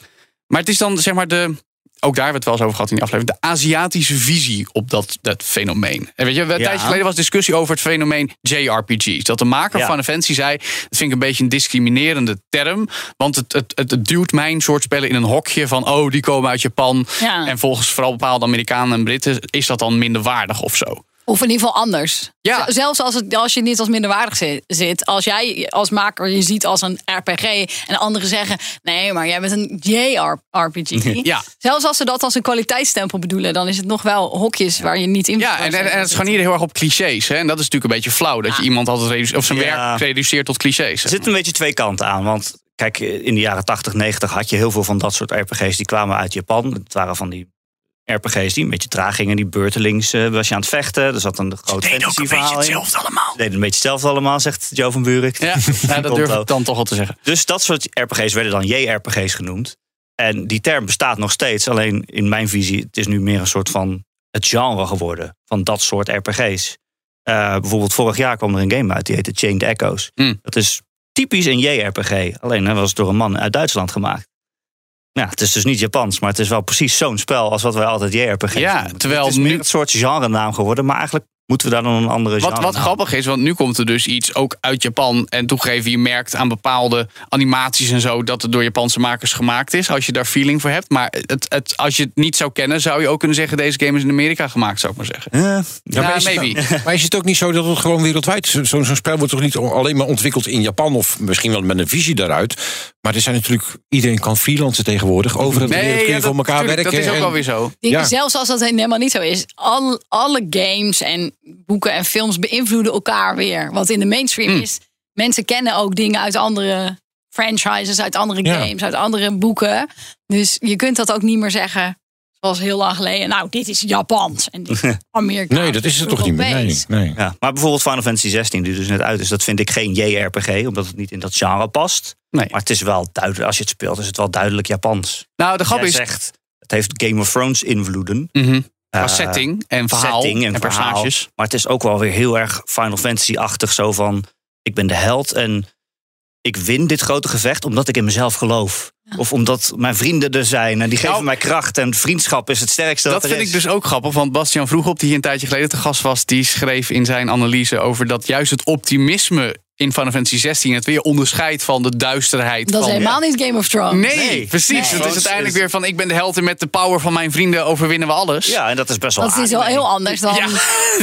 A: maar het is dan, zeg maar, de... Ook daar hebben we het wel eens over gehad in die aflevering. De Aziatische visie op dat, dat fenomeen. En weet je, een tijdje geleden was discussie over het fenomeen JRPG's. Dat de maker
F: Ja.
A: van Fantasy zei, dat vind ik een beetje een discriminerende term. Want het, het, het, het duwt mijn soort spellen in een hokje van... oh, die komen uit Japan.
C: Ja.
A: En volgens vooral bepaalde Amerikanen en Britten... is dat dan minder waardig of zo.
C: Of in ieder geval anders.
A: Ja.
C: Z- Zelfs als, het, als je niet als minderwaardig zi- zit. Als jij als maker je ziet als een RPG. En anderen zeggen, nee, maar jij bent een JRPG.
A: Ja.
C: Zelfs als ze dat als een kwaliteitsstempel bedoelen. Dan is het nog wel hokjes waar je niet in
A: Ja,
C: kan
A: en, en,
C: zitten.
A: en het is gewoon hier heel erg op clichés. Hè? En dat is natuurlijk een beetje flauw. Dat je iemand altijd reduce- of zijn
F: Ja.
A: werk reduceert tot clichés.
F: Er zit een beetje twee kanten aan. Want kijk, in de jaren 80, 90 had je heel veel van dat soort RPG's. Die kwamen uit Japan. Het waren van die RPG's die een beetje traag gingen. Die beurtelings eh, was je aan het vechten. Er zat een groot fantasy verhaal in. Ze
A: allemaal.
F: deden een beetje hetzelfde allemaal, zegt Joe van Buurik.
A: Ja, nou, dat durf ik dan toch wel te zeggen.
F: Dus dat soort RPG's werden dan JRPG's genoemd. En die term bestaat nog steeds. Alleen in mijn visie, het is nu meer een soort van het genre geworden. Van dat soort RPG's. Eh, bijvoorbeeld vorig jaar kwam er een game uit. Die heette Chained Echoes.
A: Hmm.
F: Dat is typisch een JRPG. Alleen dat was het door een man uit Duitsland gemaakt. Nou, het is dus niet Japans, maar het is wel precies zo'n spel als wat wij altijd JRPG's
A: Ja,
F: noemen.
A: terwijl
F: het is meer
A: nu-
F: het soort genrenaam geworden, maar eigenlijk moeten we daar dan een andere
A: Wat,
F: genre
A: wat grappig is, want nu komt er dus iets ook uit Japan. En toegeven, je merkt aan bepaalde animaties en zo dat het door Japanse makers gemaakt is. Als je daar feeling voor hebt. Maar het, het, als je het niet zou kennen, zou je ook kunnen zeggen: deze game is in Amerika gemaakt, zou ik maar zeggen.
F: Eh,
A: Ja,
B: maar is het nou-
A: maybe.
B: ook- maar is het ook niet zo dat het gewoon wereldwijd... zo- Zo'n zo'n spel wordt toch niet o- alleen maar ontwikkeld in Japan... of misschien wel met een visie daaruit. Maar er zijn natuurlijk... Iedereen kan freelancen tegenwoordig. Overal nee, wereld kun
A: ja,
B: je voor elkaar
A: tuurlijk,
B: werken.
A: dat is ook
B: en-
A: alweer zo.
C: Ik denk,
B: Ja.
C: Zelfs als dat helemaal niet zo is. Al, alle games en boeken en films beïnvloeden elkaar weer. Wat in de mainstream
B: Mm.
C: is. Mensen kennen ook dingen uit andere franchises, uit andere
B: Ja.
C: games, uit andere boeken. Dus je kunt dat ook niet meer zeggen. Zoals heel lang geleden. Nou, dit is Japans. En dit is Amerikaans.
B: Nee, dat is het
C: of
B: toch niet meer. Nee,
C: Europees.
B: nee.
F: Ja, maar bijvoorbeeld Final Fantasy 16, die dus net uit is, dat vind ik geen JRPG, omdat het niet in dat genre past.
A: Nee.
F: Maar het is wel duidelijk, als je het speelt, is het wel duidelijk Japans.
A: Nou, de grap
F: Jij
A: is.
F: zegt, het heeft Game of Thrones invloeden.
A: Mhm. Qua
F: Eh,
A: setting en verhaal
F: setting
A: en,
F: verhaal.
A: personages.
F: Maar het is ook wel weer heel erg Final Fantasy-achtig, zo van, ik ben de held en ik win dit grote gevecht omdat ik in mezelf geloof. Of omdat mijn vrienden er zijn en die geven
A: Nou,
F: mij kracht en vriendschap is het sterkste
A: Dat
F: dat er
A: vind ik
F: is.
A: dus ook grappig, want Bastian vroeg op, die hier een tijdje geleden te gast was, die schreef in zijn analyse over dat juist het optimisme in Final Fantasy 16 het weer onderscheidt van de duisterheid
B: Oh,
C: Dat is
A: van
C: helemaal niet Game of Thrones.
A: Nee,
F: Nee.
A: precies.
F: Nee.
A: Het is uiteindelijk weer van ik ben de held en met de power van mijn vrienden overwinnen we alles.
F: Ja, en dat is best wel
C: Dat
B: oh,
C: is wel
F: aardig.
C: heel anders dan
A: Ja.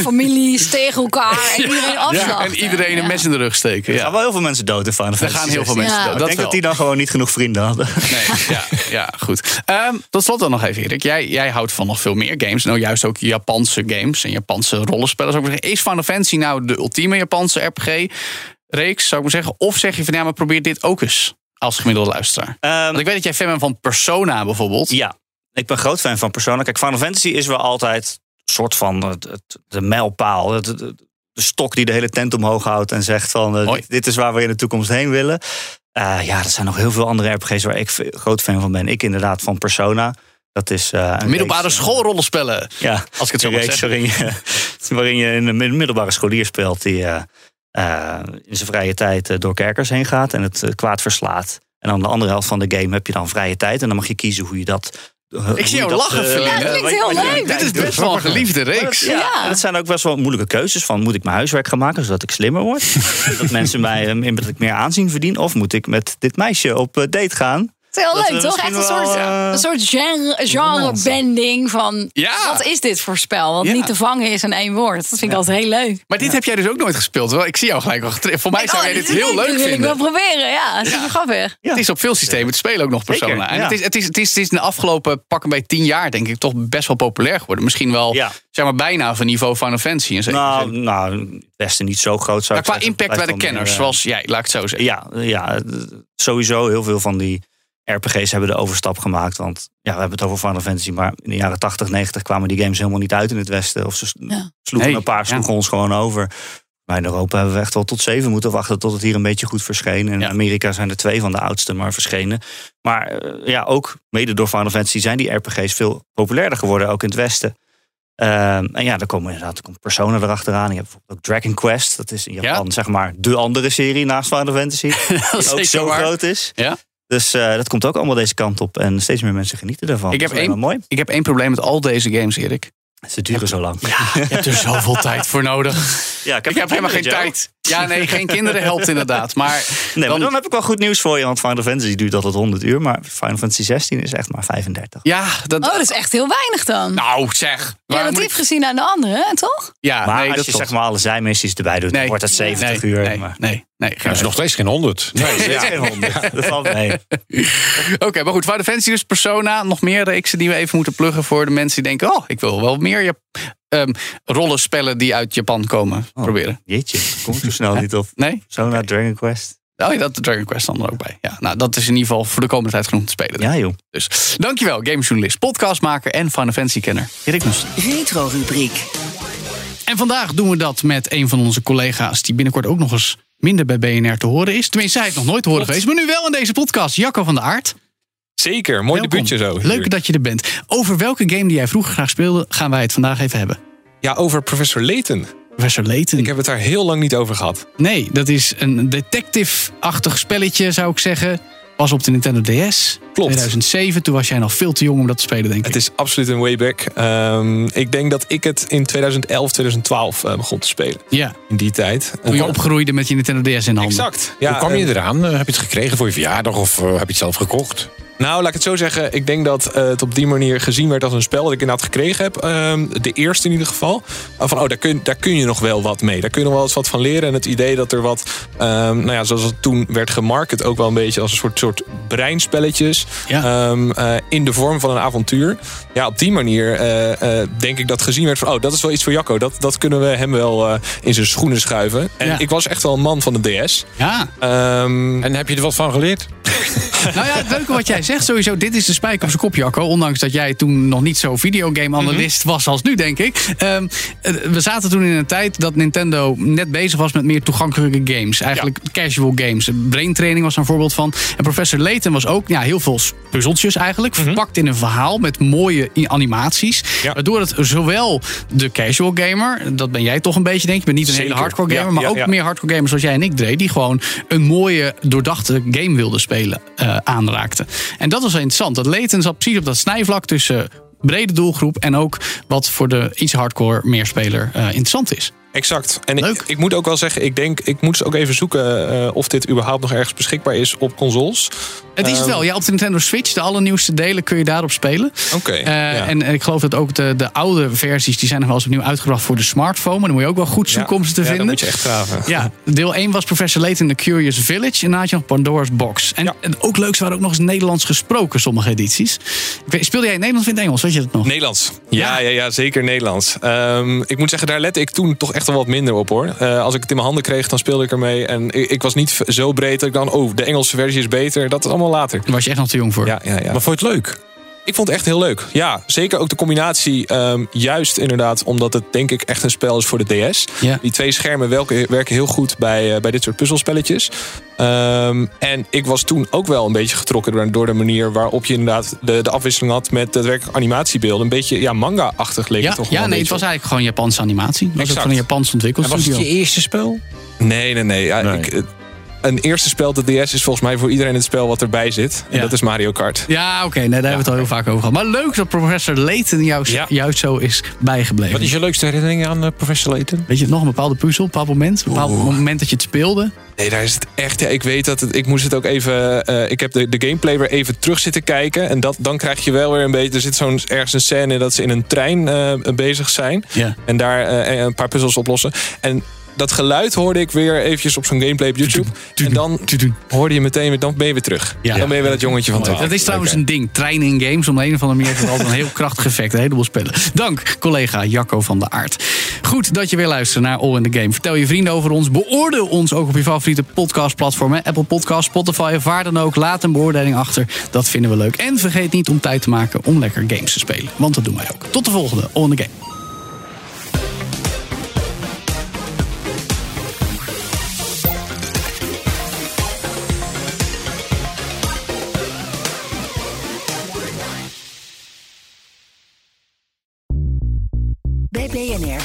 C: families tegen elkaar en iedereen afslachten.
A: en iedereen een mes in de rug steken.
F: Er gaan
A: Ja.
F: wel heel veel mensen dood in Final
A: Er
F: Fantasy
A: gaan heel veel
F: 16.
A: mensen
C: Ja.
A: dood,
F: Ik
A: dat
F: denk
A: wel.
F: dat die dan gewoon niet genoeg vrienden hadden.
A: Nee, ja, ja, goed. Ehm, tot slot dan nog even, Erik. Jij, jij houdt van nog veel meer games. Nou, juist ook Japanse games en Japanse rollenspellen. Zou ik maar zeggen. Is Final Fantasy nou de ultieme Japanse RPG-reeks, zou ik maar zeggen? Of zeg je van ja, maar probeer dit ook eens als gemiddelde luisteraar?
F: Ehm,
A: Want ik weet dat jij fan bent van Persona bijvoorbeeld.
F: Ja, ik ben groot fan van Persona. Kijk, Final Fantasy is wel altijd een soort van eh, het, het- de mijlpaal. Het- het- de stok die de hele tent omhoog houdt en zegt van... eh,
A: Hoi.
F: dit, dit is waar we in de toekomst heen willen. Eh, ja, er zijn nog heel veel andere RPG's waar ik ve- groot fan van ben. Ik inderdaad van Persona. Dat is eh, een
A: Middelbare Oh,
F: reeks-
A: schoolrollenspellen.
F: Ja,
A: Als ik het zo
F: een
A: mag
F: reeks
A: zeggen.
F: waarin je, waarin je een mid- middelbare scholier speelt... die eh, eh, in zijn vrije tijd eh, door kerkers heen gaat en het eh, kwaad verslaat. En aan de andere helft van de game heb je dan vrije tijd... en dan mag je kiezen hoe je dat... eh,
A: Ik zie jou lachen, Feline.
F: Verlinde.
A: Ja, het
C: klinkt heel leuk.
A: Dit is best wel een geliefde reeks.
F: Ja.
C: Ja.
F: en Dat zijn ook best wel moeilijke keuzes. Van moet ik mijn huiswerk gaan maken zodat ik slimmer word? dat mensen mij eh, dat ik meer aanzien verdien? Of moet ik met dit meisje op eh, date gaan?
C: Het is heel
F: Dat we
C: leuk, toch?
F: misschien
C: Echt een soort,
F: wel, eh,
C: een soort genre, genre-bending van...
A: Ja.
C: wat is dit voor spel? Wat
A: Ja.
C: niet te vangen is in één woord. Dat vind ik altijd heel leuk.
A: Maar dit heb jij dus ook nooit gespeeld. Wel, ik zie jou gelijk al getriggerd. Voor mij
C: Ik,
A: zou
C: oh,
A: jij dit heel
C: is
A: leuk
C: dit wil ik wel
A: vinden.
C: proberen, ja. Dat is super grappig.
F: Ja.
A: Het is op veel systemen te spelen ook nog
F: Zeker,
A: Persona. en
F: ja.
A: het, is, het, is, het, is, het is in de afgelopen pakken bij tien jaar denk ik toch best wel populair geworden. Misschien wel
F: Ja.
A: zeg maar bijna van niveau Final Fantasy. In zekere
F: Nou,
A: zin.
F: nou, het beste niet zo groot zou
A: maar
F: ik
A: qua
F: zeggen.
A: impact bij
F: Blijft
A: de
F: wel
A: kenners,
F: meer, eh,
A: zoals jij, laat ik het zo zeggen.
F: Ja, ja, sowieso heel veel van die RPG's hebben de overstap gemaakt. Want ja, we hebben het over Final Fantasy, maar in de jaren 80, 90 kwamen die games helemaal niet uit in het Westen. Of ze s-
C: Ja.
F: sloegen
A: Nee,
F: een paar, sloegen ons gewoon over. Maar in Europa hebben we echt wel tot zeven moeten wachten tot het hier een beetje goed verscheen. En in
A: Ja.
F: Amerika zijn er twee van de oudste maar verschenen. Maar eh, ja, ook mede door Final Fantasy zijn die RPG's veel populairder geworden, ook in het Westen. Ehm, en ja, dan komen inderdaad er komt Persona erachteraan. Je hebt bijvoorbeeld ook Dragon Quest. Dat is in Japan
A: Ja.
F: zeg maar de andere serie naast Final Fantasy.
A: Dat is
F: die ook
A: zeker
F: zo
A: waar.
F: groot is.
A: Ja.
F: Dus eh, dat komt ook allemaal deze kant op. En steeds meer mensen genieten daarvan.
A: Ik heb
F: dat is alleen maar mooi.
A: Ik heb één probleem met al deze games, Erik.
F: Ze duren zo lang. Ja,
A: Je hebt er zoveel tijd voor nodig.
F: ik
A: Ik heb helemaal geen
F: kinderen,
A: tijd. Ja, nee, geen kinderen helpt inderdaad. Maar
F: Joe. Nee, maar dan heb ik wel goed nieuws voor je. Want Final Fantasy duurt altijd 100 uur. Maar Final Fantasy 16 is echt maar 35.
A: ja, dat...
C: Oh, dat is echt heel weinig dan.
A: Nou, zeg.
C: ja,
A: Waarom
C: dat
A: moet
C: heeft gezien aan de anderen, hè, toch?
A: ik- Ja,
F: maar
A: nee,
F: als
A: dat
F: je
A: klopt.
F: zeg maar alle zijmissies erbij doet, dan wordt dat 70
A: nee,
F: uur.
A: Nee,
F: maar
A: nee, nee. geen
B: Dat is nog steeds geen 100. Nee,
F: Ja,
B: ja.
F: 200. Dat valt mee.
A: Oké, maar goed. Final Fantasy dus Persona. Nog meer reeksen die we even moeten pluggen voor de mensen die denken... oh, ik wil wel meer Jap- ehm, rollenspellen die uit Japan komen proberen.
F: Jeetje, kom ik zo snel niet op.
A: Nee?
F: Zo naar Dragon Quest.
A: Oh ja, dat de Dragon Quest dan er ook bij. Ja, nou, dat is in ieder geval voor de komende tijd genoeg te spelen.
F: Ja joh.
A: Dus dankjewel, gamejournalist, podcastmaker en Final Fantasy kenner Erik Nussen.
D: Retro-rubriek.
A: En vandaag doen we dat met een van onze collega's... die binnenkort ook nog eens minder bij BNR te horen is. Tenminste, hij is nog nooit te horen geweest, maar nu wel in deze podcast. Jacco van der Aert.
G: Zeker, mooi
A: Welkom.
G: debuutje zo.
A: Leuk dat je er bent. Over welke game die jij vroeger graag speelde, gaan wij het vandaag even hebben.
G: Ja, over professor Layton.
A: Professor Layton.
G: Ik heb het daar heel lang niet over gehad.
A: Nee, dat is een detective-achtig spelletje, zou ik zeggen. Was op de Nintendo DS.
G: Klopt.
A: 2007, toen was jij nog veel te jong om dat te spelen, denk ik.
G: Het is absoluut een wayback. Ehm ik denk dat ik het in 2011, 2012 eh, begon te spelen.
A: Ja,
G: In die tijd.
A: toen je opgroeide met je Nintendo DS in handen.
G: Exact. Ja,
B: Hoe kwam
G: eh,
B: je eraan? Eh, Heb je het gekregen voor je verjaardag of eh, heb je het zelf gekocht?
G: Nou, laat ik het zo zeggen. Ik denk dat eh, het op die manier gezien werd als een spel dat ik inderdaad gekregen heb. Ehm, de eerste in ieder geval. Eh, van, oh, daar kun, daar kun je nog wel wat mee. Daar kun je nog wel eens wat van leren. En het idee dat er wat, ehm, nou ja, zoals het toen werd gemarket... ook wel een beetje als een soort, soort breinspelletjes...
A: Ja.
G: ehm, eh, in de vorm van een avontuur. Ja, op die manier eh, eh, denk ik dat gezien werd van... oh, dat is wel iets voor Jacco. Dat, dat kunnen we hem wel eh, in zijn schoenen schuiven. En
A: Ja.
G: ik was echt wel een man van de DS.
A: Ja,
G: Ehm,
B: En heb je er wat van geleerd?
A: nou ja, het leuke wat jij zegt sowieso, dit is de spijker op zijn kop, Jacco. Ondanks dat jij toen nog niet zo videogame-analyst
G: Mhm.
A: was als nu, denk ik. Ehm, eh, we zaten toen in een tijd dat Nintendo net bezig was met meer toegankelijke games. Eigenlijk casual games. Brain training was daar een voorbeeld van. En professor Layton was ook ja, heel veel s- puzzeltjes eigenlijk. Verpakt in een verhaal met mooie i- animaties.
G: Mhm. Ja.
A: Waardoor het zowel de casual gamer, dat ben jij toch een beetje denk ik. Ik ben niet een hele
G: Zeker.
A: hardcore gamer,
G: Ja,
A: maar
G: ja,
A: ook
G: ja.
A: meer hardcore gamers zoals jij en ik deed, die gewoon een mooie, doordachte game wilden spelen, eh, aanraakten. En dat was wel interessant. Dat Layton zat precies op dat snijvlak tussen brede doelgroep en ook wat voor de iets hardcore meerspeler eh, interessant is.
G: Exact. En
A: Leuk.
G: ik, ik moet ook wel zeggen, ik denk, ik moet eens ook even zoeken eh, of dit überhaupt nog ergens beschikbaar is op consoles.
A: Het
G: Ehm.
A: is het wel. Ja, op de Nintendo Switch, de allernieuwste delen kun je daarop spelen.
G: Oké,
A: Eh,
G: ja.
A: En ik geloof dat ook de, de oude versies, die zijn nog wel eens opnieuw uitgebracht voor de smartphone. Maar dan moet je ook wel goed zoeken om ze te
G: ja,
A: vinden.
G: Dat moet je echt graven.
A: Ja, deel 1 was Professor Layton The Curious Village. En daarna had je nog Pandora's Box. En,
G: Ja.
A: en ook leuk, ze waren ook nog eens Nederlands gesproken, sommige edities. Ik weet, speelde jij in Nederlands of in het Engels? Weet je dat nog?
G: Nederlands. Ja, ja. Ja, zeker Nederlands. Ehm, ik moet zeggen, daar lette ik toen toch echt wel wat minder op hoor. Eh, als ik het in mijn handen kreeg, dan speelde ik ermee. En ik, ik was niet v- zo breed dat ik dan, oh, de Engelse versie is beter. Dat is allemaal later.
A: Daar was je echt nog te jong voor.
G: Ja, ja, ja.
B: Maar vond je het leuk?
G: Ik vond het echt heel leuk. Ja, zeker ook de combinatie. ehm, juist inderdaad, omdat het denk ik echt een spel is voor de DS.
A: Ja.
G: Die twee schermen welke, werken heel goed bij, eh, bij dit soort puzzelspelletjes. Ehm, en ik was toen ook wel een beetje getrokken door, door de manier waarop je inderdaad de, de afwisseling had met daadwerkelijk animatiebeelden. Een beetje ja, manga-achtig leek
A: ja,
G: het toch wel
A: ja,
G: een
A: nee, het
G: beetje
A: was eigenlijk gewoon Japanse animatie. Het was ook
G: Exact.
A: van een Japans ontwikkeld
B: En was het
A: studio.
B: je eerste spel?
G: Nee, nee, nee. Ja,
B: Nee.
G: ik, eh, een eerste spel op de DS is volgens mij voor iedereen het spel wat erbij zit. En
A: Ja.
G: dat is Mario Kart.
A: Ja, oké, nee, daar hebben we het al heel vaak over gehad. Maar leuk dat professor Layton jou,
G: Ja.
A: juist zo is bijgebleven.
B: Wat is je leukste herinnering aan eh, Professor Layton?
A: Weet je het nog, een bepaalde puzzel, een bepaald moment, een bepaald moment dat je het speelde.
G: Nee, daar is het echt. Ja, ik weet dat het, ik moest het ook even. eh, ik heb de, de gameplay weer even terug zitten kijken. En dat, dan krijg je wel weer een beetje. Er zit zo'n ergens een scène in dat ze in een trein eh, bezig zijn.
A: Ja.
G: En daar eh, een paar puzzels oplossen. En dat geluid hoorde ik weer eventjes op zo'n gameplay op YouTube. En dan hoorde je meteen weer. Dan ben je weer terug.
A: Ja.
G: Dan ben je weer dat jongetje
B: Oh,
G: van twaalf.
A: dat is trouwens
G: Oké.
A: een ding. Trein in games, om de een of andere manier heeft het altijd een heel krachtig effect. Een heleboel spellen. Dank, collega Jacco van der Aart. Goed dat je weer luistert naar All in the Game. Vertel je vrienden over ons. Beoordeel ons ook op je favoriete podcastplatform. hè. Apple Podcast, Spotify of waar dan ook. Laat een beoordeling achter. Dat vinden we leuk. En vergeet niet om tijd te maken om lekker games te spelen. Want dat doen wij ook. Tot de volgende All in the Game.
D: Bij BNR